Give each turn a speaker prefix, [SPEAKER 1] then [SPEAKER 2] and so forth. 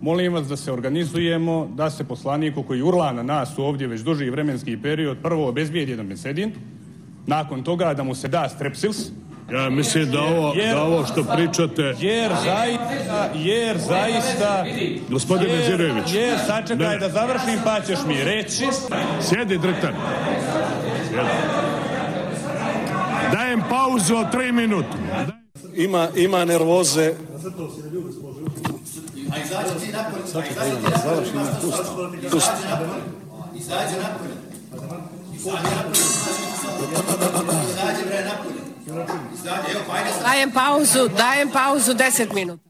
[SPEAKER 1] Molim vas da se organizujemo, da se poslaniku koji urla na nas ovdje već duži vremenski period prvo obezbijedi jedan besedin, nakon toga da mu se da strepsils,
[SPEAKER 2] Ja mislim da ovo, da ovo što pričate...
[SPEAKER 1] jer zaista, jer zaista...
[SPEAKER 2] Gospodine
[SPEAKER 1] jer-
[SPEAKER 2] Đurović.
[SPEAKER 1] Jer, sačekaj
[SPEAKER 2] Ne.
[SPEAKER 1] da završim pa ćeš mi reći.
[SPEAKER 2] Sjedi, drtan. Sjedi. Dajem pauzu od tri minuta.
[SPEAKER 3] Ima, ima nervoze.
[SPEAKER 4] Dajem pauzu, dajem pauzu 10 minuta.